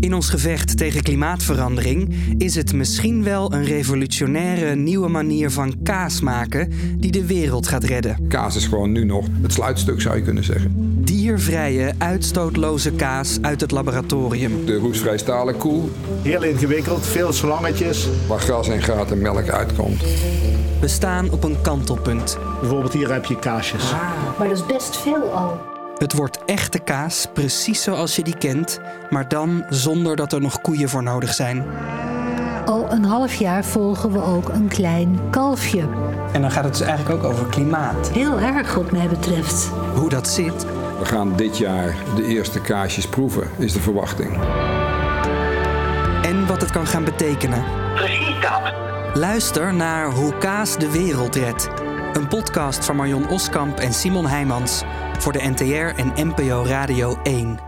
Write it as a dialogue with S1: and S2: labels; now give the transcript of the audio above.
S1: In ons gevecht tegen klimaatverandering is het misschien wel een revolutionaire nieuwe manier van kaas maken die de wereld gaat redden.
S2: Kaas is gewoon nu nog het sluitstuk, zou je kunnen zeggen.
S1: Diervrije, uitstootloze kaas uit het laboratorium.
S2: De roestvrijstalen koe,
S3: Heel ingewikkeld, veel slangetjes.
S2: waar gras en gaat en melk uitkomt.
S1: We staan op een kantelpunt.
S3: Bijvoorbeeld hier heb je kaasjes.
S4: Maar dat is best veel al.
S1: Het wordt echte kaas, precies zoals je die kent, maar dan zonder dat er nog koeien voor nodig zijn.
S4: Al een half jaar volgen we ook een klein kalfje.
S1: En dan gaat het dus eigenlijk ook over klimaat.
S4: Heel erg wat mij betreft.
S1: Hoe dat zit,
S2: We gaan dit jaar de eerste kaasjes proeven, is de verwachting.
S1: en wat het kan gaan betekenen.
S5: Precies dat.
S1: Luister naar Hoe Kaas de Wereld Redt. Een podcast van Marion Oskamp en Simon Heijmans voor de NTR en NPO Radio 1.